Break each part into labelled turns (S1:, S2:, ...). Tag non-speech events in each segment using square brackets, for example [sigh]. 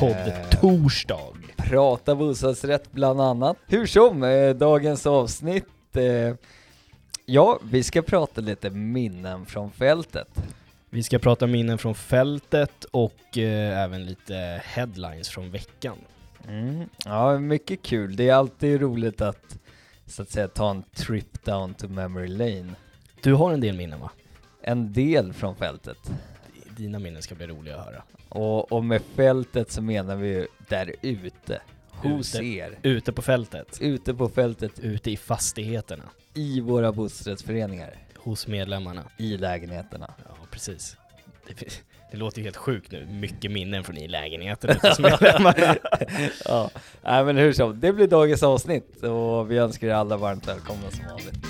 S1: Podd-torsdag.
S2: Eh, Prata bostadsrätt bland annat. Hur som, eh, dagens avsnitt. Eh, ja, vi ska prata lite minnen från fältet.
S1: Vi ska prata minnen från fältet och eh, även lite headlines från veckan.
S2: Mm. Ja, mycket kul. Det är alltid roligt att så att säga ta en trip down to memory lane.
S1: Du har en del minnen va?
S2: En del från fältet.
S1: Dina minnen ska bli roliga att höra.
S2: Och, och med fältet så menar vi ju där ute. Hos
S1: Ute.
S2: er.
S1: Ute på fältet,
S2: Ute på fältet,
S1: ute i fastigheterna,
S2: i våra bostadsrättsföreningar,
S1: hos medlemmarna.
S2: i lägenheterna.
S1: Ja, precis. Det, det låter ju helt sjukt nu, mycket minnen från i lägenheten ute hos medlemmarna.
S2: ja, nej men hur som, det blir dagens avsnitt och vi önskar er alla varmt välkomna som vanligt.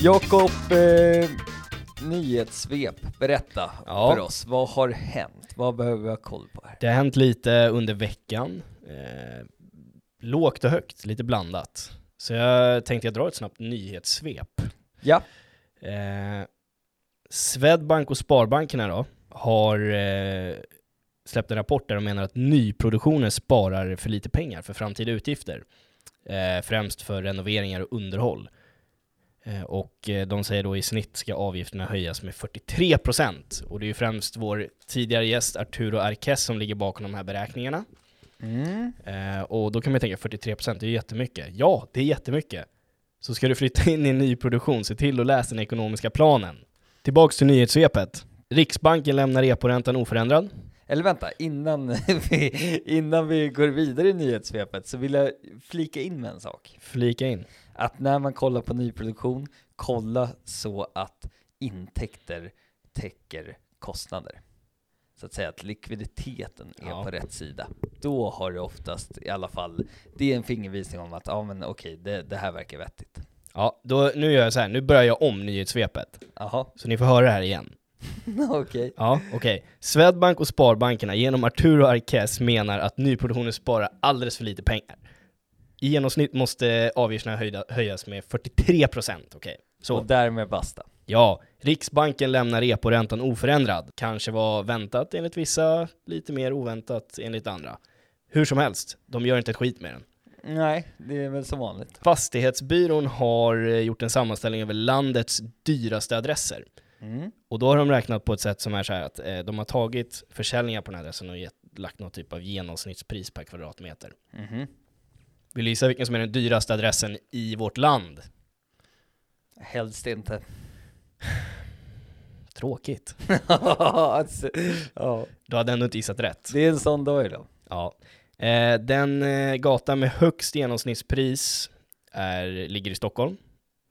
S2: Jakob, eh, nyhetssvep, berätta
S1: Ja.
S2: för oss. Vad har hänt? Vad behöver vi ha koll på här?
S1: Det har hänt lite under veckan. Eh, lågt och högt, lite blandat. Så jag tänkte jag drar ett snabbt nyhetssvep.
S2: Ja.
S1: Eh, Swedbank och Sparbankerna då har eh, släppt en rapport där de menar att nyproduktionen sparar för lite pengar för framtida utgifter. Eh, främst för renoveringar och underhåll. Eh, och eh, de säger då i snitt ska avgifterna höjas med 43% och det är ju främst vår tidigare gäst Arturo Arquez som ligger bakom de här beräkningarna.
S2: Mm.
S1: Eh, och då kan man ju tänka 43% det är ju jättemycket. Ja, det är jättemycket. Så ska du flytta in i en ny produktion, se till att läsa den ekonomiska planen. Tillbaks till nyhetssvepet. Riksbanken lämnar reporäntan oförändrad.
S2: Eller vänta, innan [laughs] vi, innan vi går vidare i nyhetssvepet så vill jag flika in med en sak.
S1: Flika in.
S2: Att när man kollar på nyproduktion, kolla så att intäkter täcker kostnader. Så att säga att likviditeten är
S1: Ja.
S2: på rätt sida. Då har du oftast i alla fall, det är en fingervisning om att ja men okej, det, det här verkar vettigt.
S1: Ja, då, nu gör jag så här, nu börjar jag om nyhetssvepet.
S2: Jaha, [laughs]
S1: Så ni får höra det här igen.
S2: okej.
S1: Ja, okej. Swedbank och Sparbankerna genom Arturo Arquez menar att nyproduktionen sparar alldeles för lite pengar. I genomsnitt måste avgifterna höjda, höjas med 43 procent, okej. Så.
S2: Och därmed basta.
S1: Ja, Riksbanken lämnar reporäntan oförändrad. Kanske var väntat enligt vissa, lite mer oväntat enligt andra. Hur som helst, de gör inte ett skit med den.
S2: Nej, det är väl som vanligt.
S1: Fastighetsbyrån har eh, gjort en sammanställning över landets dyraste adresser.
S2: Mm.
S1: Och då har de räknat på ett sätt som är så här att eh, de har tagit försäljningar på den här adressen och gett, lagt någon typ av genomsnittspris per kvadratmeter.
S2: Mhm.
S1: Vill du gissa vilken som är den dyraste adressen i vårt land?
S2: Helst inte.
S1: Tråkigt.
S2: [laughs] alltså, ja.
S1: Du hade ändå inte gissat rätt.
S2: Det är en sån dag idag.
S1: Ja. Eh, den eh, gatan med högst genomsnittspris är, ligger i Stockholm.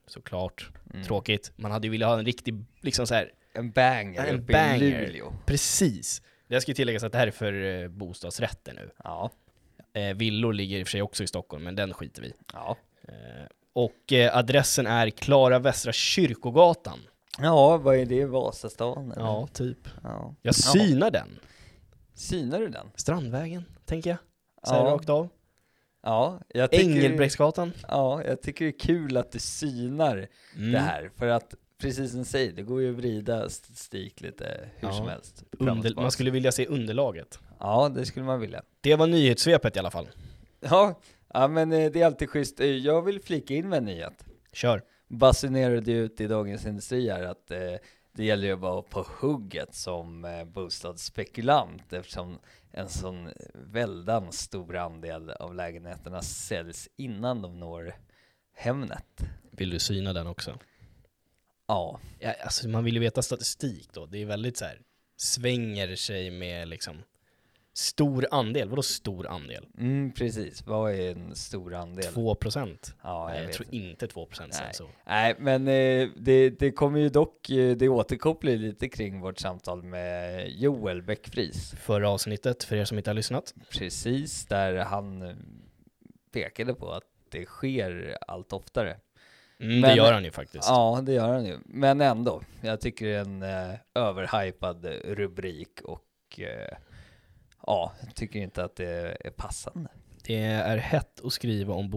S1: Såklart.
S2: Mm.
S1: Tråkigt. Man hade ju velat ha en riktig, liksom så här,
S2: En banger
S1: En
S2: uppe
S1: banger.
S2: i Luleå.
S1: precis. Det ska ju tilläggas att det här är för eh, bostadsrätter nu.
S2: Ja.
S1: Eh, villor ligger i och för sig också i Stockholm, men den skiter vi i.
S2: Ja.
S1: eh, Och eh, adressen är Klara Västra Kyrkogatan.
S2: ja, vad är det? Vasastan? eller?
S1: Ja, typ.
S2: ja.
S1: Jag
S2: Ja.
S1: synar den.
S2: Synar du den?
S1: Strandvägen, tänker jag. Så här
S2: Ja.
S1: rakt av.
S2: Ja, jag tycker,
S1: Engelbrektsgatan.
S2: ja, jag tycker det är kul att du synar
S1: Mm.
S2: det här. För att, precis som du säger, det går ju att vrida statistik lite hur
S1: Ja.
S2: som helst. Fram och
S1: Mm. Under,
S2: tillbaka.
S1: man skulle vilja se underlaget.
S2: Ja, det skulle man vilja.
S1: Det var nyhetssvepet i alla fall.
S2: Ja, ja men eh, det är alltid schysst. Eh, Jag vill flika in med en nyhet.
S1: Kör.
S2: basunerade ju ut i Dagens Industri här att eh, det gäller ju att vara på hugget som eh, bostadsspekulant eftersom en sån väldans stor andel av lägenheterna säljs innan de når Hemnet.
S1: Vill du syna den också?
S2: Ja,
S1: Ja, alltså man vill ju veta statistik då. Det är väldigt så här, svänger sig med liksom stor andel. Vadå stor andel?
S2: mm, precis. Vad är en stor andel?
S1: 2 procent?
S2: Ja,
S1: Nej,
S2: jag
S1: jag
S2: vet.
S1: tror inte 2 procent
S2: Nej.
S1: sen så.
S2: Nej, men eh, det, det kommer ju dock, eh, det återkopplar ju lite kring vårt samtal med Joel Bäckfries.
S1: Förra avsnittet, för er som inte har lyssnat.
S2: Precis, där han eh, pekade på att det sker allt oftare.
S1: Mm, det
S2: Men-
S1: gör han ju faktiskt.
S2: Ja, det gör han ju. Men ändå, jag tycker det är en eh, överhypad rubrik och eh, ja, tycker inte att det är passande.
S1: Det är hett att skriva om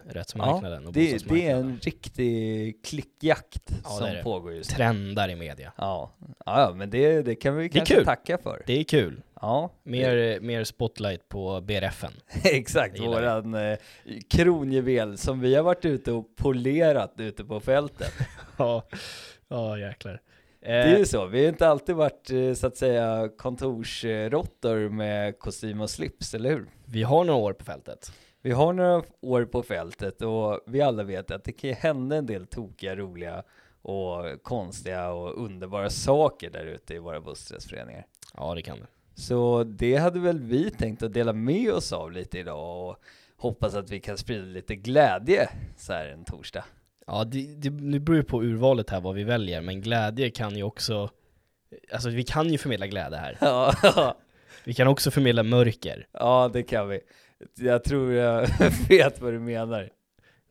S1: bostadsrättsmarknaden och
S2: det, det är
S1: bostadsmarknaden.
S2: en riktig klickjakt
S1: Ja, det
S2: som
S1: är det.
S2: pågår just nu.
S1: Trendar i media.
S2: Ja, ja ja, men det, det kan vi
S1: Det är
S2: kanske
S1: kul.
S2: tacka för.
S1: Det är kul.
S2: Ja,
S1: Mer, mer spotlight på BRFen.
S2: [laughs] Exakt,
S1: Det gillar vi.
S2: våran eh, kronjuvel som vi har varit ute och polerat ute på fältet.
S1: Ja, ja jäklar. Eh,
S2: Det är ju så, vi har inte alltid varit eh, så att säga kontorsråttor med kostym och slips, eller hur?
S1: Vi har några år på fältet.
S2: Vi har några år på fältet och vi alla vet att det kan ju hända en del tokiga, roliga och konstiga och underbara saker där ute i våra bostadsrättsföreningar.
S1: Ja, det kan det.
S2: Så det hade väl vi tänkt att dela med oss av lite idag och hoppas att vi kan sprida lite glädje så här en torsdag.
S1: Ja, det, det, nu beror ju på urvalet här vad vi väljer, men glädje kan ju också... Alltså vi kan ju förmedla glädje här.
S2: Ja,
S1: Vi kan också förmedla mörker.
S2: [laughs] ja det kan vi. Jag tror jag [laughs] vet vad du menar.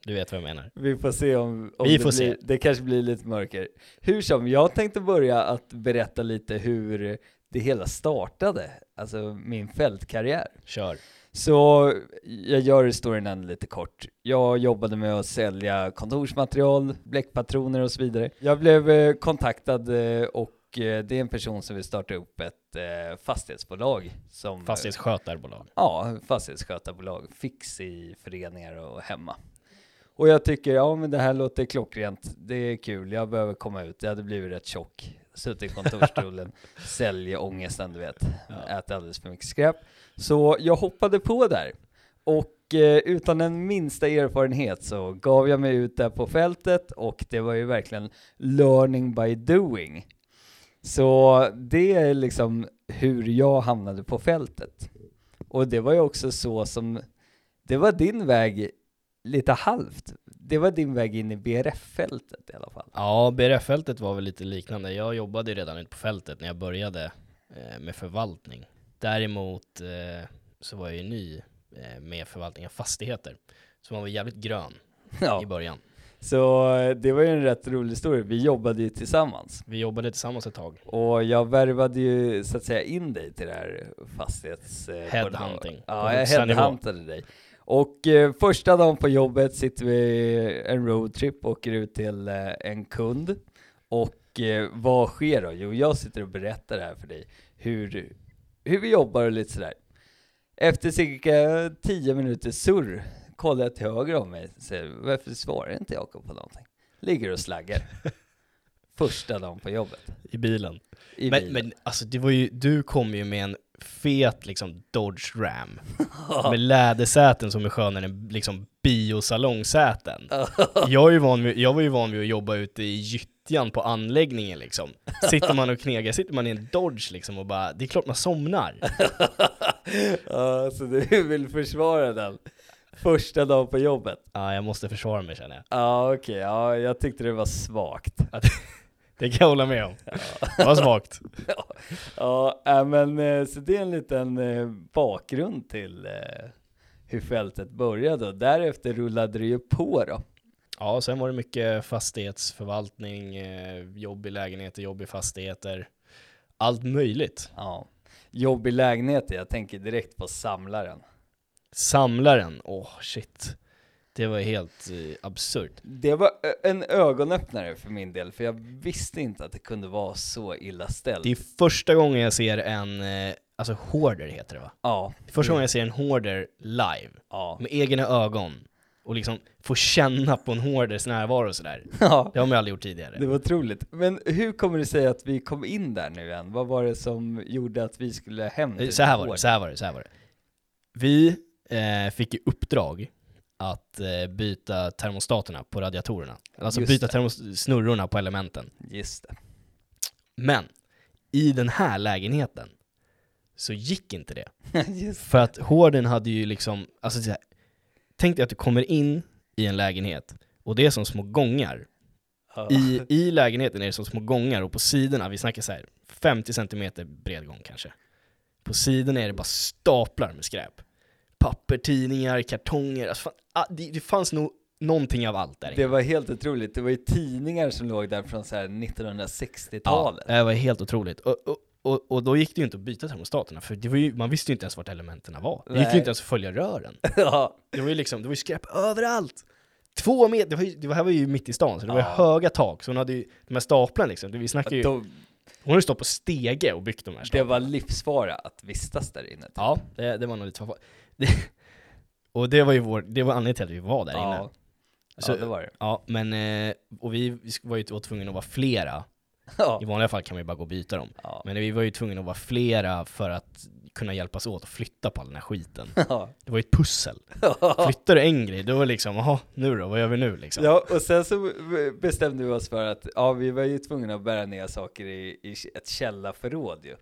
S1: Du vet vad jag menar.
S2: Vi får se om, om
S1: Vi
S2: det,
S1: får
S2: blir,
S1: se.
S2: det kanske blir lite mörker. Hur som, jag tänkte börja att berätta lite hur det hela startade, alltså min fältkarriär.
S1: Kör.
S2: Så jag gör storyn ändå lite kort. Jag jobbade med att sälja kontorsmaterial, bläckpatroner och så vidare. Jag blev eh, kontaktad eh, och eh, det är en person som vill starta upp ett eh, fastighetsbolag. Som,
S1: Fastighetsskötarbolag.
S2: Ja, fastighetsskötarbolag, fix i föreningar och hemma. Och jag tycker, ja men det här låter klockrent, det är kul, jag behöver komma ut, jag hade blivit rätt tjock, suttit i kontorsstolen, säljer ångesten du vet,
S1: Ja.
S2: äter alldeles för mycket skräp. Så jag hoppade på där. Och eh, utan den minsta erfarenhet så gav jag mig ut där på fältet och det var ju verkligen learning by doing. Så det är liksom hur jag hamnade på fältet. Och det var ju också så som, det var din väg lite halvt. Det var din väg in i BRF-fältet i alla fall.
S1: Ja, BRF-fältet var väl lite liknande. Jag jobbade ju redan ute på fältet när jag började eh, med förvaltning. Däremot eh, så var jag ju ny eh, med förvaltning av fastigheter. Så man var jävligt grön
S2: Ja.
S1: i början.
S2: Så eh, det var ju en rätt rolig historia, vi jobbade ju tillsammans.
S1: Vi jobbade tillsammans ett tag.
S2: Och jag värvade ju så att säga in dig till det här fastighets... eh,
S1: Headhunting.
S2: bolag.
S1: På
S2: Ja, jag
S1: högsta nivå.
S2: headhuntade dig. Och eh, första dagen på jobbet sitter vi en roadtrip och åker ut till eh, en kund. Och eh, vad sker då? Jo, jag sitter och berättar det här för dig. Hur, hur vi jobbar och lite sådär. Efter cirka 10 minuter surr kollar jag till höger om mig och säger varför svarar inte Jakob på någonting? Ligger och
S1: [laughs]
S2: slaggar. Första dagen på jobbet.
S1: I bilen.
S2: I
S1: Men,
S2: bilen.
S1: men alltså det var ju, du kom ju med en fet liksom
S2: [laughs]
S1: Dodge Ram. med lädersäten som är skönare än liksom
S2: [laughs]
S1: biosalongsäten. jag, är ju van vid, jag var ju van vid att jobba ute i gyttjan på anläggningen liksom. Sitter man och knegar, sitter man i en Dodge liksom och bara, det är klart man somnar.
S2: [laughs] Ja, så du vill försvara den första dagen på jobbet?
S1: Ja, jag måste försvara mig känner jag.
S2: Ja, okej. Ja, jag tyckte det var svagt.
S1: Det kan jag hålla med om. Det var svagt.
S2: Ja, äh, men eh, så det är en liten eh, bakgrund till eh, hur fältet började och därefter rullade det ju på då.
S1: Ja, sen var det mycket fastighetsförvaltning, eh, jobb i lägenheter, jobb i fastigheter. Allt möjligt.
S2: Ja. Jobbig lägenhet, jag tänker direkt på samlaren.
S1: Samlaren, åh shit. Det var helt eh, absurt.
S2: Det var eh, en ögonöppnare för min del, för jag visste inte att det kunde vara så illa ställt.
S1: Det är första gången jag ser en, eh, alltså hoarder heter det va?
S2: Ja,
S1: Det är första gången jag ser en hoarder live,
S2: ja,
S1: med egna ögon. Och liksom få känna på en hoarders närvaro och sådär.
S2: ja.
S1: Det har man ju aldrig gjort
S2: Det
S1: tidigare.
S2: var otroligt. Men hur kommer det sig att vi kom in där nu än? Vad var det som gjorde att vi skulle hem?
S1: Eh,
S2: till
S1: Så här var
S2: vår-
S1: det, så här var det, så här var det. Vi eh, fick i uppdrag att eh, byta termostaterna på radiatorerna. Alltså
S2: Just
S1: byta
S2: det.
S1: termos- snurrorna på elementen.
S2: Just det.
S1: Men i den här lägenheten så gick inte det. [laughs]
S2: Just.
S1: För att Hården hade ju liksom, alltså så här, tänk dig att du kommer in i en lägenhet och det är som små gångar.
S2: Ja.
S1: I, I lägenheten är det som små gångar och på sidorna, vi snackar så här 50 cm bred gång kanske. På sidorna är det bara staplar med skräp. Papper, tidningar, kartonger, alltså fan, ah, det, det fanns nog någonting av allt där
S2: Det var helt otroligt. Det var ju tidningar som låg där från så här 1960-talet.
S1: Ja, det var helt otroligt. Och, och, Och, och då gick det ju inte att byta termostaterna, för det var ju, man visste ju inte ens vart elementen var. Det gick
S2: Nej.
S1: ju inte ens att följa rören.
S2: [laughs] ja.
S1: Det var ju liksom, det var ju skräp överallt! Två meter, det, var ju, det här var ju mitt i stan, så det var ju
S2: Ja.
S1: höga tak, så hon hade ju de här staplarna liksom, det, vi snackar ju, hon
S2: De,
S1: har ju stått på stege och byggt de här
S2: det
S1: staplarna.
S2: var livsfara att vistas där inne. typ.
S1: Ja, det, det var nog lite för det, Och det var ju vår, det var anledningen till att vi var där inne. Alltså,
S2: ja.
S1: Så-
S2: ja, det var det.
S1: Ja, men, eh, och vi vi var ju tvungna att vara flera.
S2: Ja.
S1: I vanliga fall kan man ju bara gå och byta dem.
S2: Ja.
S1: Men vi var ju tvungna att vara flera för att kunna hjälpas åt att flytta på all den här skiten.
S2: Ja. [laughs]
S1: Det var ju ett pussel. Flyttar du en grej, då var det liksom, jaha, nu då, vad gör vi nu liksom?
S2: Ja, och sen så bestämde vi oss för att ja, vi var ju tvungna att bära ner saker i, i ett källarförråd ju.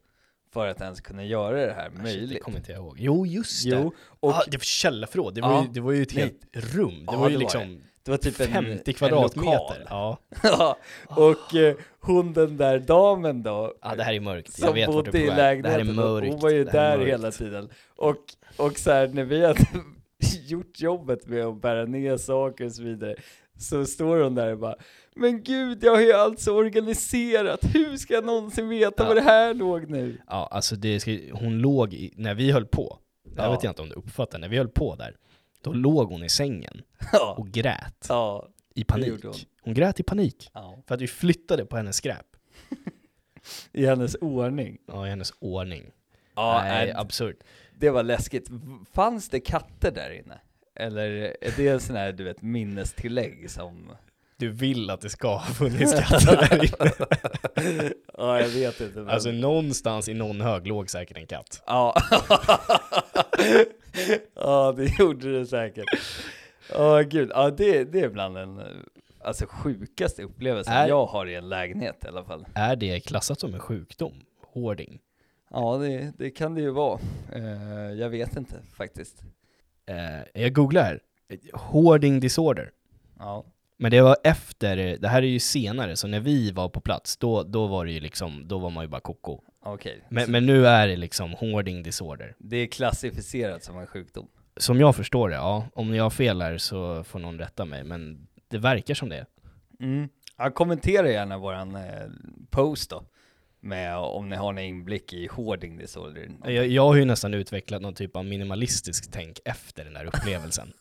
S2: För att ens kunna göra det här
S1: Shit, Alltså, Det
S2: möjligt.
S1: kommer inte jag ihåg. Jo, just det.
S2: Jo, och
S1: ah, det var källarförråd, det, var
S2: Ja.
S1: ju- det var ju ett
S2: Nej.
S1: helt rum. Det
S2: Ja,
S1: var
S2: det
S1: ju
S2: var
S1: liksom
S2: det var typ en,
S1: 50
S2: En lokal. [laughs]
S1: kvadratmeter. Ja.
S2: ja, och eh, hon den där damen då.
S1: ja, det här är mörkt. jag
S2: som
S1: vet vart du
S2: bodde
S1: är
S2: i
S1: på väg. Det här är
S2: lägenheten,
S1: mörkt.
S2: hon var ju
S1: Det här är
S2: där
S1: mörkt.
S2: hela tiden. Och, och så här, när vi hade [laughs] gjort jobbet med att bära ner saker och så vidare, så står hon där och bara Men gud, jag har ju alltså organiserat, hur ska jag någonsin veta
S1: Ja.
S2: var det här låg nu?
S1: Ja, alltså det ska, hon låg i, när vi höll på, jag
S2: Ja.
S1: vet inte om du uppfattar, när vi höll på där, då låg hon i sängen
S2: Ja,
S1: och grät
S2: [laughs] ja,
S1: i
S2: gjorde
S1: panik.
S2: hon.
S1: Hon grät i panik,
S2: ja.
S1: för att vi flyttade på hennes skräp.
S2: i hennes ordning.
S1: Ja, i hennes ordning.
S2: Ja,
S1: Nej,
S2: äh,
S1: absurt.
S2: det var läskigt. Fanns det katter där inne? Eller är det en sån här, du vet, minnestillägg som...
S1: Du vill att det ska ha funnits katter
S2: [laughs]
S1: där inne.
S2: Ja, jag vet inte. men-
S1: Alltså någonstans i någon hög låg säkert en katt.
S2: Ja. [laughs] ja, det gjorde det säkert. Ja, gud. Ja, det, det är bland den eh, alltså, sjukaste upplevelsen
S1: Är-
S2: jag har i en lägenhet i alla fall.
S1: Är det klassat som en sjukdom? Hoarding?
S2: Ja, det, det kan det ju vara. Eh, jag vet inte faktiskt.
S1: Eh, jag googlar här. Hoarding disorder.
S2: Ja,
S1: Men det var efter, det här är ju senare, så när vi var på plats, då, då var det ju liksom, då var man ju bara koko.
S2: okej.
S1: Men,
S2: Så
S1: men nu är det liksom hoarding disorder.
S2: Det är klassificerat som en sjukdom.
S1: Som jag förstår det, ja. Om jag har fel här så får någon rätta mig, men det verkar som det.
S2: Mm. Ja, kommentera gärna våran eh, post då. Med om ni har någon inblick i hoarding disorder.
S1: Jag, jag har ju nästan utvecklat någon typ av minimalistisk tänk efter den där upplevelsen.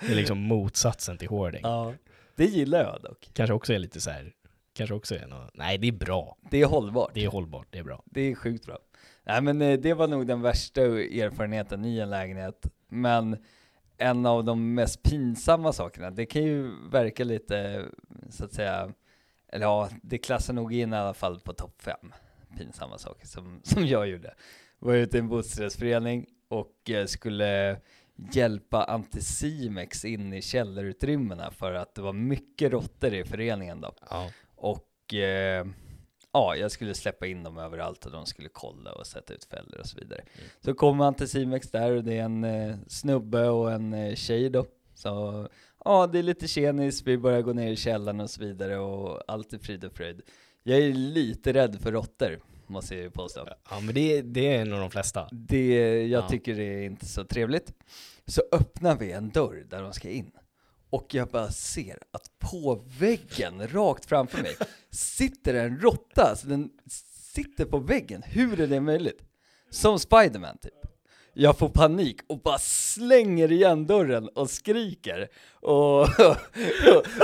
S1: det är liksom motsatsen till hoarding.
S2: [laughs] Ja, det gillar jag dock.
S1: Kanske också är lite så här, kanske också är något, nej det är bra,
S2: Det är hållbart.
S1: det är hållbart, det är bra.
S2: Det är sjukt bra. Nej men eh, det var nog den värsta erfarenheten i en lägenhet. Men en av de mest pinsamma sakerna, det kan ju verka lite så att säga, eller ja, det klassar nog in i alla fall på topp fem pinsamma saker som, [laughs] som jag gjorde. Var ute i en bostadsrättsförening och eh, skulle hjälpa Anticimex in i källarutrymmena för att det var mycket råttor i föreningen då.
S1: Ja.
S2: Och eh, ja, jag skulle släppa in dem överallt och de skulle kolla och sätta ut fällor och så vidare.
S1: Mm.
S2: Så kommer han till Simex där och det är en eh, snubbe och en eh, tjej då. Så ja, det är lite tjenis, vi börjar gå ner i källaren och så vidare och allt är frid och fröjd. Jag är lite rädd för råttor, måste jag ju påstå.
S1: Ja men det, det är nog de flesta.
S2: Det, jag
S1: Ja.
S2: tycker det är inte så trevligt. Så öppnar vi en dörr där de ska in. Och jag bara ser att på väggen rakt framför mig sitter en råtta. Så den sitter på väggen. Hur är det möjligt? Som Spiderman typ. Jag får panik och bara slänger igen dörren och skriker. Och, och,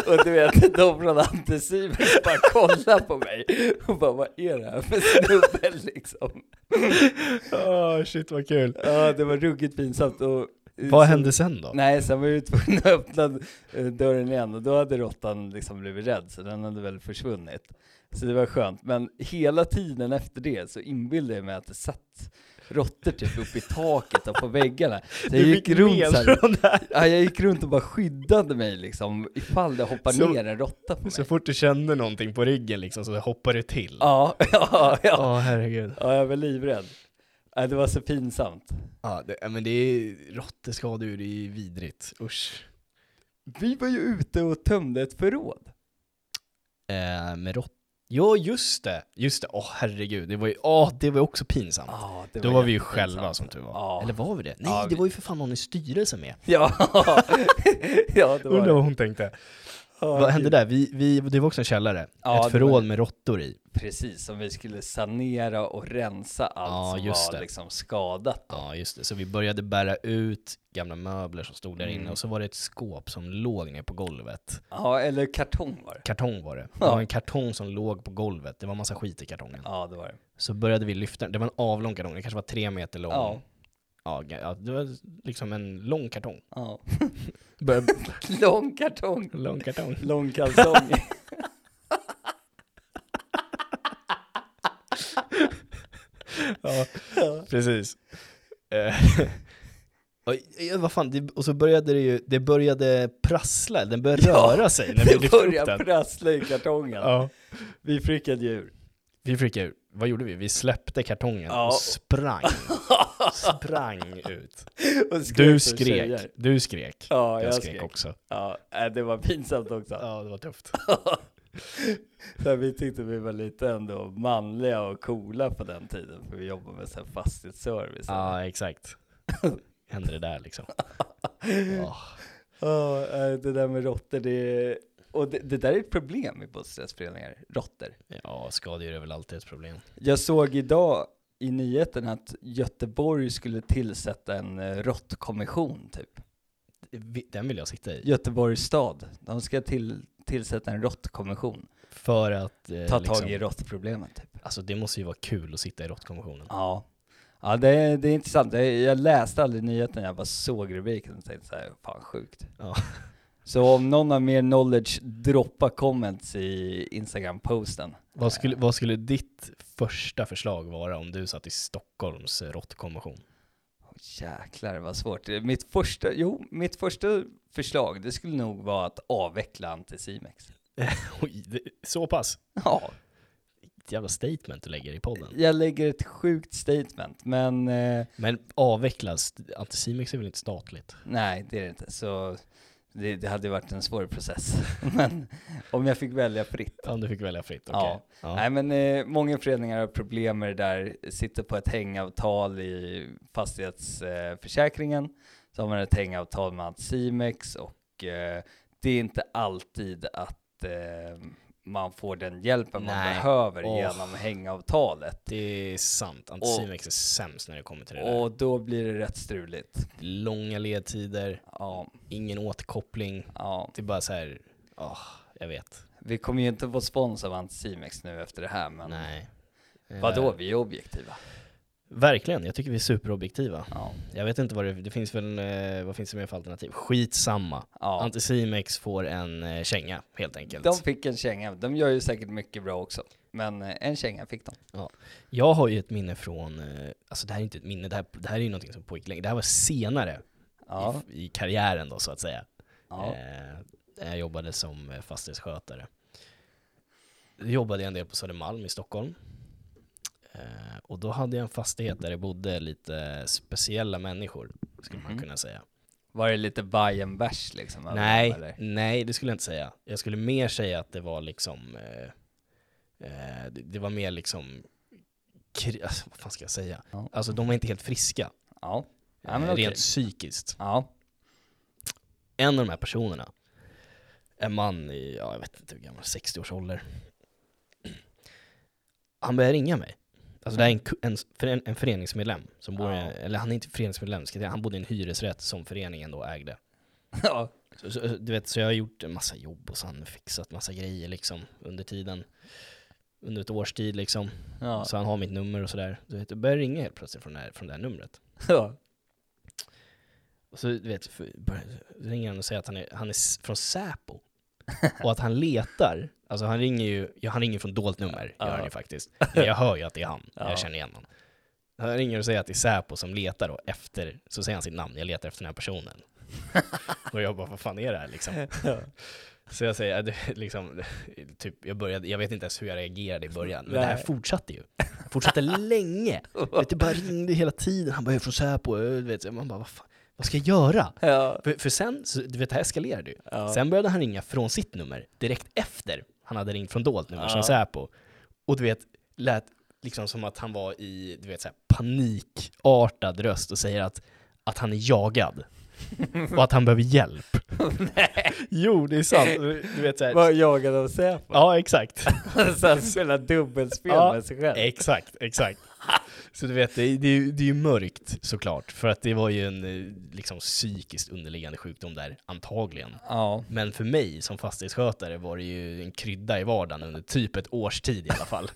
S2: och du vet, de från Anticimex bara kollar på mig och bara vad är det här för snubbe liksom?
S1: Åh shit vad kul.
S2: Ja, det var ruggigt pinsamt. Och,
S1: Vad
S2: så-
S1: hände sen då?
S2: Nej, sen var jag ju tvungen att öppna eh, dörren igen och då hade råttan liksom blivit rädd, så den hade väl försvunnit. Så det var skönt, men hela tiden efter det så inbillade jag mig att det satt råttor typ uppe i taket och på väggarna. Så jag gick runt så här,
S1: från det här.
S2: ja, jag gick runt och bara skyddade mig liksom ifall det hoppar
S1: Så-
S2: ner en råtta på mig.
S1: Så fort du kände någonting på ryggen liksom så hoppade du till.
S2: Ja, [laughs] ja, ja.
S1: Ja, herregud.
S2: ja, jag var livrädd. Ja, det var så pinsamt.
S1: Ja, det, ja, men det är råtteskador, det är ju vidrigt. Usch.
S2: Vi var ju ute och tömde ett förråd.
S1: Eh, med rått... Ja, just det. Just det. Åh, herregud. Det var ju, åh, det var ju också pinsamt.
S2: Ja, det
S1: Då var vi ju
S2: jättepinsamt. [laughs]
S1: själva som tur var.
S2: Ja.
S1: Eller var vi det? Nej,
S2: Ja,
S1: det
S2: vi-
S1: var ju för fan någon i styrelsen med.
S2: Ja, ja det var
S1: Undrar
S2: det.
S1: vad hon tänkte. Vad hände där? Vi, vi, det var också en källare.
S2: Ja, det var-
S1: Ett förråd med råttor i.
S2: Precis, som vi skulle sanera och rensa allt
S1: Ja,
S2: som
S1: just
S2: var
S1: det.
S2: liksom skadat.
S1: Ja, just det. Så vi började bära ut gamla möbler som stod där inne
S2: Mm.
S1: och så var det ett skåp som låg ner på golvet.
S2: Ja, eller kartong var det.
S1: Kartong var det. Det
S2: Ja.
S1: var en kartong som låg på golvet. Det var massa skit i kartongen.
S2: Ja, det var det.
S1: Så började vi lyfta den. Det var en avlång kartong. Den kanske var tre meter lång.
S2: Ja.
S1: Ja. Ja, det var liksom en lång kartong.
S2: Ja. [laughs]
S1: Bör-
S2: Lång kartong.
S1: [laughs] lång kartong.
S2: Lång
S1: [laughs]
S2: kalsong.
S1: Ja, precis. Eh, [laughs] och, ja, vad fan, det, och så började det ju, det började prassla, den började
S2: Ja,
S1: röra sig
S2: [laughs]
S1: när vi
S2: det
S1: lyfte upp
S2: började
S1: den.
S2: prassla i kartongen.
S1: Ja.
S2: Vi fick ett djur.
S1: Vi freakade ur. Vad gjorde vi? Vi släppte kartongen
S2: Ja. [laughs]
S1: och sprang. sprang ut.
S2: Och skrek
S1: Du
S2: åt tjejer.
S1: skrek. Du skrek.
S2: Ja,
S1: Jag,
S2: jag
S1: skrek,
S2: skrek.
S1: också.
S2: Ja, äh, det var pinsamt också.
S1: Ja, det var tufft.
S2: Så vi tyckte vi var lite ändå manliga och coola på den tiden, för vi jobbade med så här fastighetsservice. [laughs]
S1: Ja, exakt. Hände det där liksom. Ja.
S2: Ja, eh, det där med råttor, det, och det, det där är ett problem i bostadsrättsföreningar, råttor.
S1: Ja, skadedjur är väl alltid ett problem.
S2: Jag såg idag i nyheten att Göteborg skulle tillsätta en eh, råttkommission typ.
S1: Vi- Den vill jag sitta i.
S2: Göteborgs stad, de ska till, tillsätta en råttkommission.
S1: För att... Eh,
S2: Ta
S1: liksom,
S2: tag i råttproblemet typ.
S1: Alltså det måste ju vara kul att sitta i råttkommissionen.
S2: Ja. Ja det, är- det är intressant, jag, jag läste aldrig nyheten, jag bara såg rubriken och tänkte så här, fan sjukt.
S1: Ja.
S2: Så om någon har mer knowledge, droppa comments i Instagram-posten.
S1: Vad, skulle, vad skulle ditt första förslag vara om du satt i Stockholms eh, råttkommission?
S2: Åh, Jäklar vad svårt. Mitt första, jo, mitt första förslag det skulle nog vara att avveckla Anticimex.
S1: Oj, det- så pass?
S2: Ja,
S1: Ett jävla statement du lägger i podden.
S2: jag lägger ett sjukt statement, men eh,
S1: Men avvecklas, Anticimex är väl inte statligt?
S2: nej det är det inte. Så det, det hade ju varit en svår process. [laughs] men om jag fick välja fritt.
S1: Om du fick välja fritt, okej.
S2: Ja.
S1: Ja.
S2: Nej men eh, många föreningar har problem med det där, sitter på ett hängavtal i fastighetsförsäkringen, eh, försäkringen. så har man ett hängavtal med Anticimex och eh, det är inte alltid att eh, man får den hjälpen man
S1: Nej.
S2: behöver
S1: Åh.
S2: genom hängavtalet.
S1: Det är sant, Anticimex är sämst när det kommer till det där.
S2: Och då blir det rätt struligt.
S1: Långa ledtider,
S2: Ja,
S1: ingen återkoppling.
S2: ja.
S1: Det är bara så här, ja, jag vet.
S2: Vi kommer ju inte få spons av Anticimex nu efter det här men
S1: Nej. Eh,
S2: vadå, vi är objektiva.
S1: Verkligen, jag tycker vi är superobjektiva.
S2: Ja,
S1: Jag vet inte vad det, det finns väl, eh, vad finns det mer för alternativ? Skitsamma.
S2: ja.
S1: Anticimex får en eh, känga helt enkelt.
S2: De fick en känga, de gör ju säkert mycket bra också. Men eh, en känga fick de.
S1: Jag har ju ett minne från, eh, alltså det här är inte ett minne, det här, det här är ju någonting som pågick länge. Det här var senare
S2: Ja,
S1: i, i karriären då så att säga.
S2: ja.
S1: Eh, jag jobbade som eh, fastighetsskötare. Då jobbade jag en del på Södermalm i Stockholm. Eh, och då hade jag en fastighet där det bodde lite speciella människor, skulle man
S2: Mhm.
S1: kunna säga.
S2: Var det lite Bayern bärs liksom? över
S1: Nej,
S2: dem, eller?
S1: nej, det skulle jag inte säga. Jag skulle mer säga att det var liksom, eh, eh, det, det var mer liksom, kri- alltså, vad fan ska jag säga?
S2: Ja.
S1: Alltså de var inte helt friska,
S2: Ja. Ja,
S1: eh,
S2: men
S1: rent
S2: okej.
S1: psykiskt.
S2: Ja. [laughs]
S1: En av de här personerna, en man i, ja, jag vet inte hur gammal, 60 års ålder. Han började ringa mig. Alltså det här är en, ku- en, fören- en föreningsmedlem, som bor, i-
S2: Ja.
S1: eller han är inte föreningsmedlem, ska jag säga, han bodde i en hyresrätt som föreningen då ägde.
S2: ja.
S1: Så, så, du vet, så jag har gjort en massa jobb och sen fixat massa grejer liksom under tiden. Under ett års tid liksom.
S2: Ja.
S1: Så han har mitt nummer och sådär. Du vet, jag börjar ringa helt plötsligt från det här, från det här numret.
S2: ja.
S1: Och så du vet, för, börjar, ringer han och säger att han är, han är s-
S2: [laughs]
S1: från Säpo. Och att han letar. Alltså han ringer ju, ja, han ringer från dolt nummer,
S2: Ja.
S1: gör han ju faktiskt. Men jag hör ju att det är han,
S2: [laughs] Ja.
S1: jag känner igen honom. Han ringer och säger att det är Säpo som letar då efter, så säger han sitt namn, jag letar efter den
S2: [laughs]
S1: här personen. och jag bara, vad fan är det här liksom? Så jag säger, äh, det- liksom, [laughs] typ, jag, började, jag vet inte ens hur jag reagerade i början, men det här
S2: Nej.
S1: fortsatte ju. Det
S2: [laughs]
S1: fortsatte länge. Vet, det bara ringde hela tiden, han bara, jag är från Säpo, äh, du vet, man bara, vad, fan, vad ska jag göra?
S2: Ja.
S1: För, för sen, så, du vet, det här eskalerade ju.
S2: Ja.
S1: Sen började han ringa från sitt nummer, direkt efter han hade ringt från dolt nummer,
S2: Ja.
S1: som Säpo. Och du vet, lät liksom som att
S2: [laughs]
S1: han var i, du vet, så här, panikartad röst och säger att, att han är jagad. och att han behöver hjälp. Jo, det
S2: [laughs]
S1: är sant. Du vet så här.
S2: Vad jagade de Säpo? [laughs]
S1: Ja, exakt.
S2: Så han spelar dubbelspel
S1: Ja. Eh.
S2: med sig själv.
S1: Exakt, exakt. Så du vet, det är, det är ju- det är ju mörkt såklart, för att det var ju en eh, liksom, psykiskt underliggande sjukdom där, antagligen. [laughs]
S2: Ja.
S1: Men för mig som fastighetsskötare var det ju en krydda i vardagen under typ ett års tid i alla fall.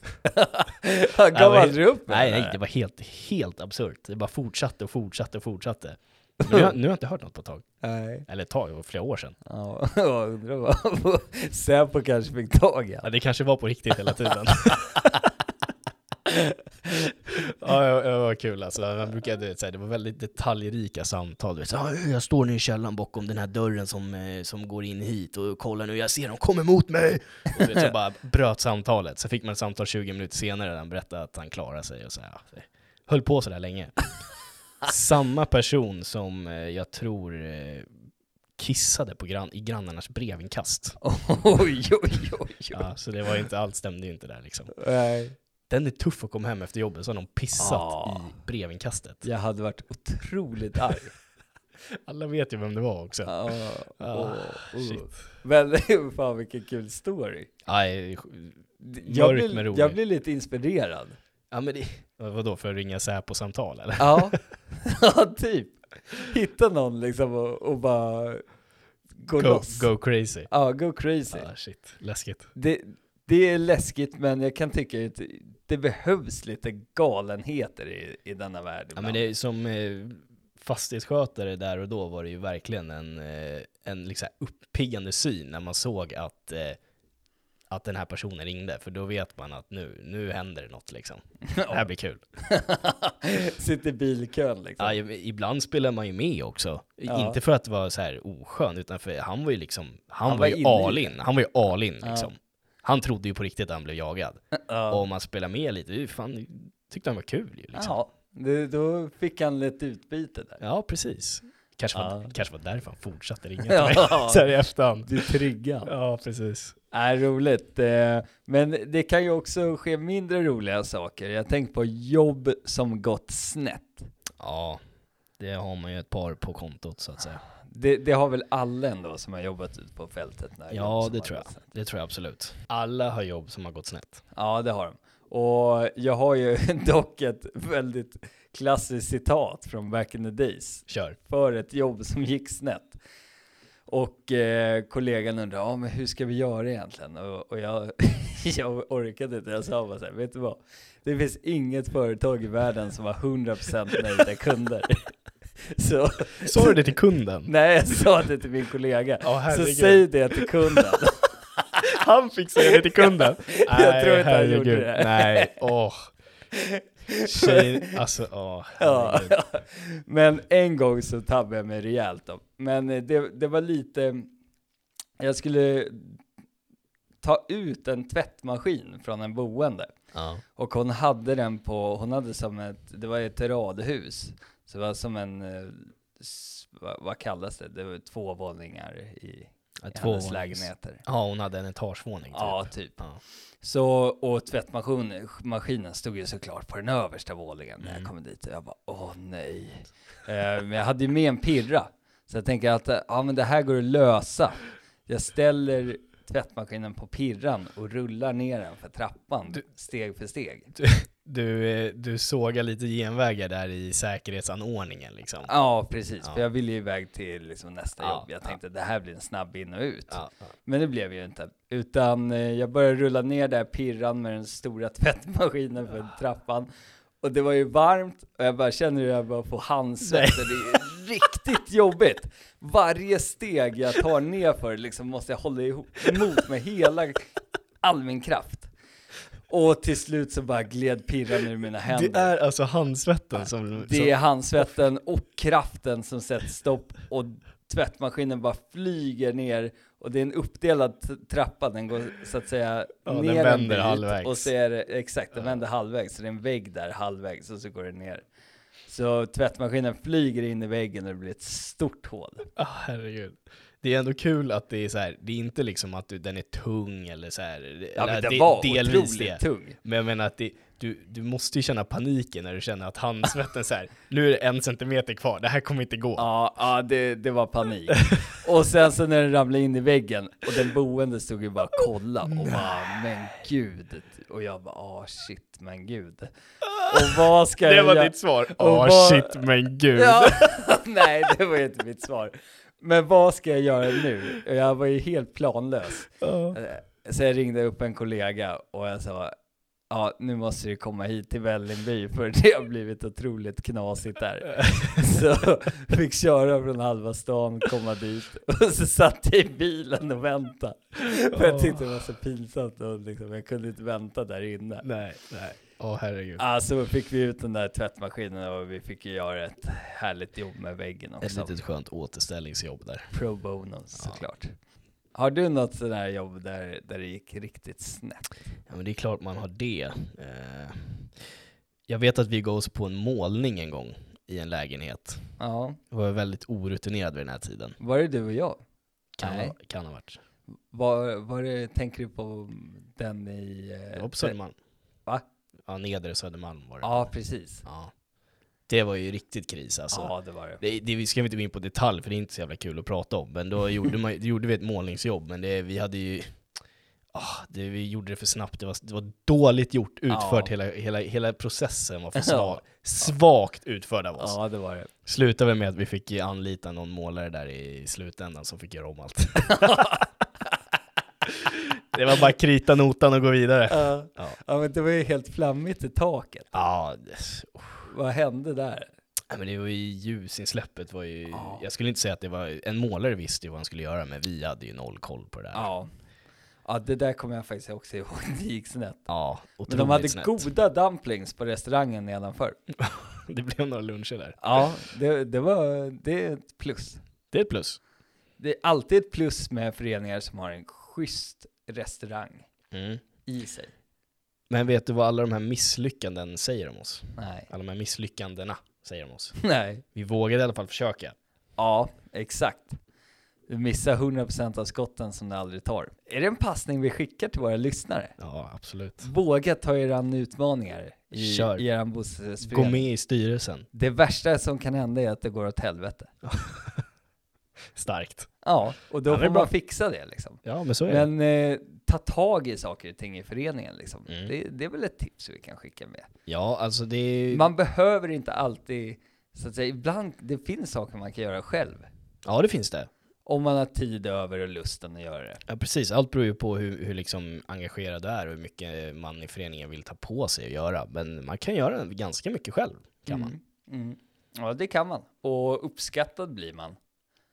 S2: Han gav
S1: var helt-
S2: aldrig upp med
S1: nej,
S2: det
S1: nej,
S2: där.
S1: det var helt, helt absurt. Det bara fortsatte och fortsatte och fortsatte. Men nu, har- nu har jag inte hört något på ett tag.
S2: Nej.
S1: Eller ett tag, det var flera år sedan.
S2: Ja, [laughs] jag undrar vad Säpo kanske fick tag i
S1: Ja,
S2: han.
S1: det kanske var på riktigt hela tiden. [laughs] ja, det var- det var kul alltså. Man brukade, du vet, så här, det var väldigt detaljrika samtal. Du vet, så, här, jag står nu i källaren bakom den här dörren som, eh, som går in hit och kollar nu, jag ser dem komma mot mig! Och, du vet, så bara bröt samtalet. Så fick man ett samtal 20 minuter senare där han berättade att han klarade sig och så här, ja, det höll på sådär länge. Samma person som eh, jag tror eh, kissade på grann, i grannarnas brevinkast.
S2: [laughs] Oj, oj, oj, oj.
S1: Ja, så det var inte, allt stämde ju inte där liksom.
S2: Nej.
S1: Typ. Den är tuff att komma hem efter jobbet, så har de pissat
S2: Ah.
S1: i brevinkastet.
S2: Jag hade varit otroligt arg.
S1: Alla vet ju vem det var också.
S2: Ja,
S1: Ah,
S2: åh, åh.
S1: shit.
S2: Men [laughs] fan vilken kul story.
S1: Aj,
S2: Jag
S1: Mörk men
S2: blir,
S1: rolig.
S2: jag blir lite
S1: [laughs]
S2: inspirerad.
S1: ja, men det... Vadå, för att ringa Säpo-samtal eller?
S2: Ja, [laughs] ja typ. Hitta någon liksom och, och bara gå
S1: Go,
S2: loss.
S1: go crazy.
S2: Ja, go crazy.
S1: Ah, shit, läskigt.
S2: Det, det är läskigt men jag kan tycka att det behövs lite galenheter i, i denna värld
S1: Ja, men det är som eh, fastighetsskötare där och då var det ju verkligen en, eh, en liksom uppiggande syn när man såg att, eh, att den här personen ringde, för då vet man att nu, nu händer det något liksom. Det
S2: [laughs]
S1: här blir kul.
S2: Sitter i bilkön liksom.
S1: Ja, ju- ibland spelar man ju med också. I-
S2: Ja.
S1: Inte för att vara så här oskön, utan för han var ju liksom, han,
S2: Han
S1: var
S2: var
S1: ju
S2: inne i
S1: all in. Han var ju all in
S2: Ja.
S1: liksom. Han trodde ju på riktigt att han blev jagad.
S2: Ja.
S1: Och om man spelar med lite, det är ju fan, det tyckte han var kul ju liksom. Ja,
S2: Ja, det, då fick han lite utbyte där.
S1: precis. Kanske var,
S2: Ja.
S1: kanske var därför han
S2: [laughs]
S1: fortsatte ringa till mig.
S2: Ja,
S1: Så här i efterhand.
S2: du är triggad.
S1: Ja, precis.
S2: Nej, roligt. Eh, Men det kan ju också ske mindre roliga saker. Jag tänkte på jobb som gått snett.
S1: Ja, det har man ju ett par på kontot så att säga.
S2: Det, det har väl alla ändå som har jobbat ute på fältet? När jobb
S1: Ja,
S2: som
S1: det
S2: har
S1: tror jag.
S2: gått snett.
S1: Det tror jag absolut. Alla har jobb som har gått snett.
S2: Ja, det har de. Och jag har ju [laughs] dock ett väldigt klassiskt citat från back in the days.
S1: Kör.
S2: för ett jobb som gick snett. Och eh, kollegan undrade, ja men hur ska vi göra egentligen? Och, och jag, [laughs] jag orkade inte, jag sa bara så här, vet du vad? Det finns inget företag i världen som har 100% nöjda kunder. [laughs] Så,
S1: Sa du det till kunden?
S2: nej jag sa det till min kollega.
S1: Ja,
S2: så
S1: herregud.
S2: säg det till kunden.
S1: [laughs] Han fick säga det till kunden.
S2: Jag tror inte han gjorde det.
S1: Nej, åh. Tjej, alltså åh.
S2: Ja,
S1: herregud.
S2: ja. Men en gång så tabbade jag mig rejält då. Men eh, det, det var lite, jag skulle ta ut en tvättmaskin från en boende.
S1: Ja.
S2: Och hon hade den på, hon hade som ett, det var ett radhus. Så det var som en, eh, s- vad, vad kallas det? Det var två våningar i, i hennes
S1: vånings-
S2: lägenheter.
S1: Ja, hon hade en etagevåning typ.
S2: Ja, typ.
S1: Ja.
S2: Så, och tvättmaskinen maskinen stod ju såklart på den översta våningen när jag
S1: Mm.
S2: kom dit och jag bara, åh nej. Eh, men jag hade ju med en pirra, så jag tänker att, eh, ja men det här går att lösa. Jag ställer tvättmaskinen på pirran och rullar ner den för trappan,
S1: Du-
S2: steg för steg.
S1: Du, eh, du sågar lite genvägar där i säkerhetsanordningen liksom.
S2: Ja, precis,
S1: Ja.
S2: för jag ville ju iväg till liksom, nästa
S1: Ja,
S2: jobb. Jag tänkte, det här blir en snabb in och ut.
S1: Ja, ja.
S2: Men det blev ju inte. Utan eh, jag började rulla ner där pirran med den stora [laughs] tvättmaskinen för trappan. Och det var ju varmt och jag bara känner hur jag bara får handsvett och det är ju riktigt jobbigt. Varje steg jag tar ner för liksom måste jag hålla ihop, emot med hela, all min kraft. Och till slut så bara gled pirran ur mina händer.
S1: Det är alltså handsvetten som...
S2: Det är handsvetten och kraften som sätter stopp och tvättmaskinen bara flyger ner och det är en uppdelad t- trappa, den går så att säga
S1: Ja, den
S2: ner en
S1: vänder
S2: bit
S1: halvvägs.
S2: och så är det, exakt, den vänder halvvägs, så det är en vägg där halvvägs och så går den ner. Så tvättmaskinen flyger in i väggen och det blir ett stort hål.
S1: som, ah, herregud. Det är ändå kul att det är så här, det är inte liksom att du, den är tung eller så här.
S2: Ja,
S1: eller
S2: men
S1: att
S2: den
S1: det-
S2: var
S1: delvis
S2: otroligt
S1: det.
S2: tung.
S1: Men jag menar att det, du, du måste ju känna paniken när du känner
S2: [laughs]
S1: att handsvetten så här, nu är det en centimeter kvar, det här kommer inte gå.
S2: Ja, ja det, det var panik. Och sen så när den ramlade in i väggen och den boende stod ju bara och kollade och bara men gud. Och jag bara ah shit men gud. Och vad ska
S1: det
S2: jag
S1: var
S2: göra?
S1: ditt svar.
S2: och
S1: Åh
S2: vad-
S1: shit, men gud.
S2: Ja, [laughs] nej det var ju inte mitt svar. Men vad ska jag göra nu? Jag var ju helt planlös.
S1: Ja.
S2: Eh, Så jag ringde upp en kollega och jag sa, ja nu måste du komma hit till Vällingby för det har blivit otroligt knasigt
S1: [laughs]
S2: där. Så fick köra från halva stan, komma dit och så satt jag i bilen och väntade. [laughs] För jag tyckte det var så pinsamt och liksom, jag kunde inte vänta där inne.
S1: Nej, nej. Åh herregud.
S2: Ja, så fick vi ut den där tvättmaskinen och vi fick ju göra ett härligt jobb med väggen
S1: Ett
S2: också.
S1: litet skönt återställningsjobb där.
S2: Pro bono såklart.
S1: såklart.
S2: Har du något sådär jobb där, där det gick riktigt snett?
S1: Ja, men det är klart man har det. Eh, Jag vet att vi gav oss på en målning en gång i en lägenhet.
S2: Ja.
S1: Jag var väldigt orutinerad vid den här tiden.
S2: Var det du och jag?
S1: Kan,
S2: Nej.
S1: ha, kan ha varit.
S2: Var, var det, tänker du på den i... eh,
S1: Jag var på
S2: te-
S1: Södermalm.
S2: Va?
S1: Ja, nedre Södermalm var det.
S2: Ja, precis.
S1: Ja. Det var ju riktigt kris alltså.
S2: Ja, det var det.
S1: Det, det, vi ska vi inte gå in på detalj för det är inte så jävla kul att prata om,
S2: [laughs]
S1: men då gjorde, man, då gjorde vi ett målningsjobb, men det, vi hade ju ah, det, vi gjorde det för snabbt, det var, det var dåligt gjort utfört,
S2: Ja.
S1: hela, hela, hela processen var för
S2: [laughs] Ja.
S1: svag, svagt utförd av oss.
S2: Ja, det var det.
S1: Slutade vi med att vi fick ju anlita någon målare där i slutändan som fick göra
S2: [laughs]
S1: om allt. [laughs] det var bara krita notan och gå vidare.
S2: Ja.
S1: [laughs] Ja.
S2: ja, men det var ju helt flammigt i taket.
S1: Ja, det-
S2: Vad hände där?
S1: Nej, men det var ju ljusinsläppet var ju,
S2: Ja.
S1: jag skulle inte säga att det var, en målare visste ju vad han skulle göra men vi hade ju noll koll på det där.
S2: Ja. Ja, det där kommer jag faktiskt också ihåg. [laughs] Det gick snett.
S1: Ja,
S2: Men
S1: otroligt
S2: de hade
S1: snett.
S2: goda dumplings på restaurangen nedanför.
S1: [laughs] Det blev några luncher där.
S2: Ja, det, det var... Det är ett plus.
S1: Det är ett plus.
S2: Det är alltid ett plus med föreningar som har en schysst restaurang i sig.
S1: Men vet du vad alla de här misslyckanden säger om oss?
S2: Nej. [laughs]
S1: Alla de här misslyckandena säger om oss.
S2: Nej.
S1: Vi vågade i alla fall försöka.
S2: Ja, exakt. Du missar 100% av skotten som du aldrig tar. Är det en passning vi skickar till våra lyssnare?
S1: Ja, absolut.
S2: Våga ta er an utmaningar i,
S1: Kör.
S2: i er
S1: Gå
S2: bostadsrättsförening.
S1: med i styrelsen.
S2: Det värsta som kan hända är att det går åt helvete.
S1: Starkt.
S2: Ja, och då
S1: Ja, det är
S2: får
S1: bra.
S2: man fixa det liksom.
S1: Ja, men så är det.
S2: Men eh, ta tag i saker och ting i föreningen liksom.
S1: Mm.
S2: Det, det är väl ett tips vi kan skicka med.
S1: Ja, alltså det är...
S2: Man behöver inte alltid, så att säga, ibland, det finns saker man kan göra själv.
S1: Ja, det finns det.
S2: Om man har tid över och lusten att göra det.
S1: Ja, precis. Allt beror ju på hur, hur liksom engagerad du är och hur mycket man i föreningen vill ta på sig att göra. Men man kan göra ganska mycket själv, kan man.
S2: Mm. Mm. Ja, det kan man. Och uppskattad blir man.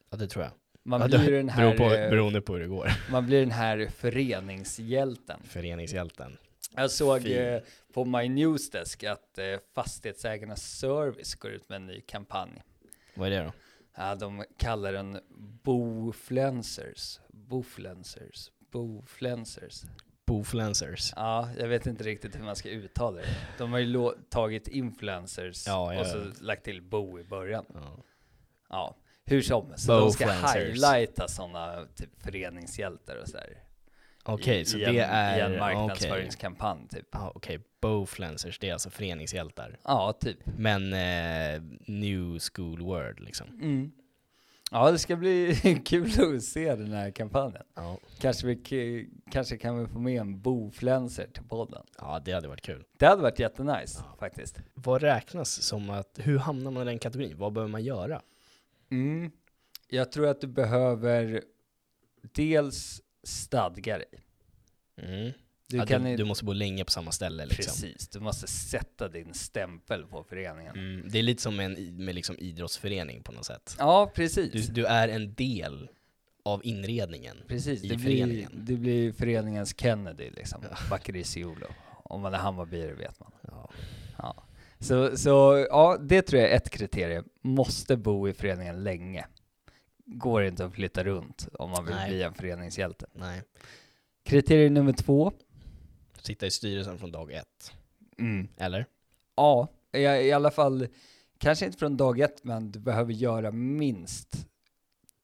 S1: Ja, det tror jag.
S2: Man,
S1: ja, det
S2: blir, ju den här,
S1: beror på,
S2: eh,
S1: beroende på hur det går. [laughs]
S2: man blir den här föreningshjälten.
S1: Föreningshjälten.
S2: Jag såg
S1: Fin.
S2: eh, på My Newsdesk att eh, Fastighetsägarnas Service går ut med en ny kampanj.
S1: Vad är det då?
S2: Ja, de kallar den Bofluencers. Bofluencers. Bofluencers.
S1: Bofluencers.
S2: Ja, jag vet inte riktigt hur man ska uttala det. De har ju lo- tagit influencers
S1: Ja, ja,
S2: och så
S1: ja.
S2: lagt till bo i början.
S1: Ja.
S2: Ja, hur som. Så de ska
S1: Bofluencers.
S2: highlighta sådana typ föreningshjältar och sådär.
S1: Okej,
S2: I-
S1: så
S2: i
S1: det
S2: en,
S1: är...
S2: I en
S1: okej.
S2: marknadsföringskampanj typ.
S1: Ja, Okej, bofluencers, det är alltså föreningshjältar.
S2: Ja, typ.
S1: Men eh, new school word liksom.
S2: Mm. Ja, det ska bli [laughs] kul att se den här kampanjen.
S1: Ja.
S2: Kanske, vi, k- kanske kan vi få med en bofluencer till podden.
S1: ja, det hade varit kul.
S2: Det hade varit jättenice
S1: Ja.
S2: faktiskt.
S1: Vad räknas som att, hur hamnar man i den kategorin? Vad behöver man göra?
S2: Mm. Jag tror att du behöver dels stadga dig.
S1: Mm.
S2: Du
S1: ja,
S2: kan
S1: du,
S2: i-
S1: du måste bo länge på samma ställe liksom.
S2: Precis, du måste sätta din stämpel på föreningen.
S1: Mm. Det är lite som en i- med liksom idrottsförening på något sätt.
S2: Ja, precis.
S1: Du, du är en del av inredningen.
S2: precis.
S1: i
S2: Det, blir,
S1: föreningen.
S2: det blir föreningens Kennedy liksom,
S1: Ja.
S2: Bakircioglu. Om man är Hammarbyare vet man.
S1: Ja.
S2: Ja. Så, så ja, det tror jag är ett kriterium. Måste bo i föreningen länge. Går inte att flytta runt om man vill
S1: Nej.
S2: bli en föreningshjälte.
S1: Nej.
S2: Kriterium nummer två.
S1: Sitta i styrelsen från dag ett.
S2: Mm.
S1: Eller?
S2: Ja, i, i alla fall, kanske inte från dag ett, men du behöver göra minst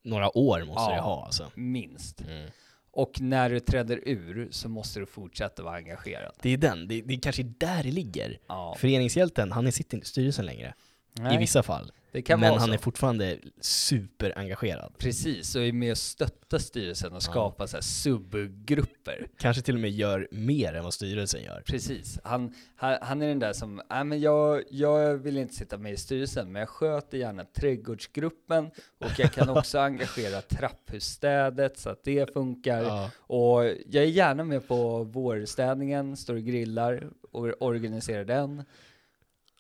S1: några år måste
S2: Ja.
S1: det ha alltså.
S2: minst.
S1: Mm.
S2: Och när du träder ur så måste du fortsätta vara engagerad.
S1: Det är den, det, det är kanske där det ligger.
S2: Ja.
S1: Föreningshjälten, han sitter inte i styrelsen längre. I
S2: Nej,
S1: vissa fall.
S2: det kan
S1: Men
S2: vara
S1: han
S2: så.
S1: är fortfarande superengagerad.
S2: Precis, och är med och stöttar styrelsen och skapar så här subgrupper.
S1: Kanske till och med gör mer än vad styrelsen gör.
S2: Precis, han, han, han är den där som, nej men jag, jag vill inte sitta med i styrelsen, men jag sköter gärna trädgårdsgruppen och jag kan också engagera trapphusstädet så att det funkar.
S1: Ja.
S2: Och jag är gärna med på vårstädningen, står och grillar och organiserar den.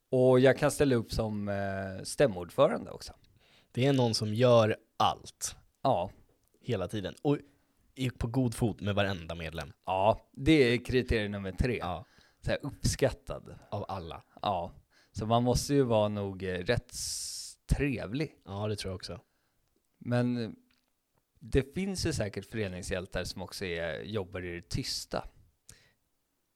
S2: Och jag kan ställa upp som eh, stämordförande också.
S1: Det är någon som gör allt
S2: Ja,
S1: hela tiden. Och är på god fot med varenda medlem.
S2: ja det är kriterie nummer tre.
S1: Ja.
S2: Så här uppskattad.
S1: Av alla.
S2: Ja, så man måste ju vara nog eh, rätt s- trevlig.
S1: Ja, det tror jag också.
S2: Men eh, det finns ju säkert föreningshjältar som också är, jobbar i det tysta.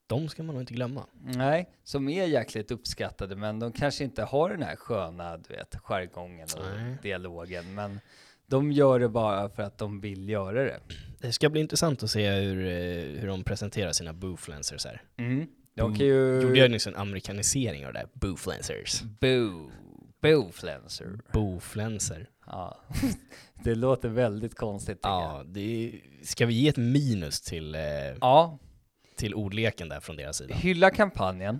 S1: De ska man nog inte glömma.
S2: Nej, som är jäkligt uppskattade, men de kanske inte har den här sköna, du vet, jargongen och
S1: Nej.
S2: dialogen. Men de gör det bara för att de vill göra det.
S1: Det ska bli intressant att se hur, eh, hur de presenterar sina boofluencers här.
S2: Mm. De
S1: Boo.
S2: kan ju...
S1: Gjorde jag nyss en amerikanisering av det där? Boofluencers.
S2: Boo. Boofluencer.
S1: Boofluencer.
S2: Ja. [laughs] det låter väldigt konstigt. tycker jag.
S1: Ja, det är, ska vi ge ett minus till, eh,
S2: ja,
S1: till ordleken där från deras [laughs] sida?
S2: Hylla kampanjen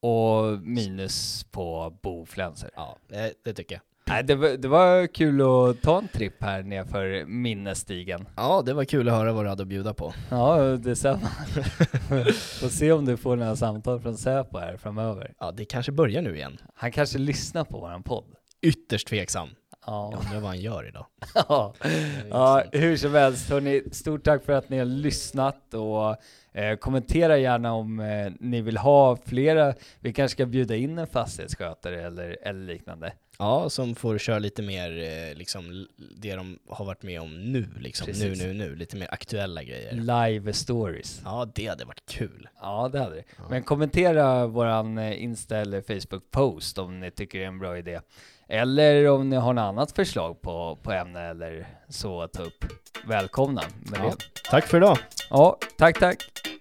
S2: och minus på boflänser.
S1: Ja, det, det tycker jag.
S2: Nej, det, var, det var kul att ta en tripp här nerför minnesstigen.
S1: Ja, det var kul att höra vad du hade att bjuda på.
S2: Ja, detsamma. [laughs] Får se om du får några samtal från Säpo här framöver.
S1: Ja, det kanske börjar nu igen.
S2: Han kanske lyssnar på våran podd.
S1: Ytterst tveksam. Jag
S2: Ja,
S1: undrar vad han gör idag.
S2: [laughs] ja. ja
S1: intressant.
S2: hur som helst, hörni, stort tack för att ni har lyssnat och eh, kommentera gärna om eh, ni vill ha flera. Vi kanske ska bjuda in en fastighetsskötare eller, eller liknande.
S1: Ja, som får köra lite mer eh, liksom, l- det de har varit med om nu, liksom. nu,
S2: Precis.
S1: nu, nu. Lite mer aktuella grejer.
S2: Live stories.
S1: Ja, det hade varit kul.
S2: Ja, det hade det. Men kommentera våran eh, Insta eller Facebook-post om ni tycker det är en bra idé. Eller om ni har något annat förslag på, på ämne eller så att ta upp. Välkomna med
S1: Ja.
S2: det.
S1: Tack för idag.
S2: Ja, tack, tack.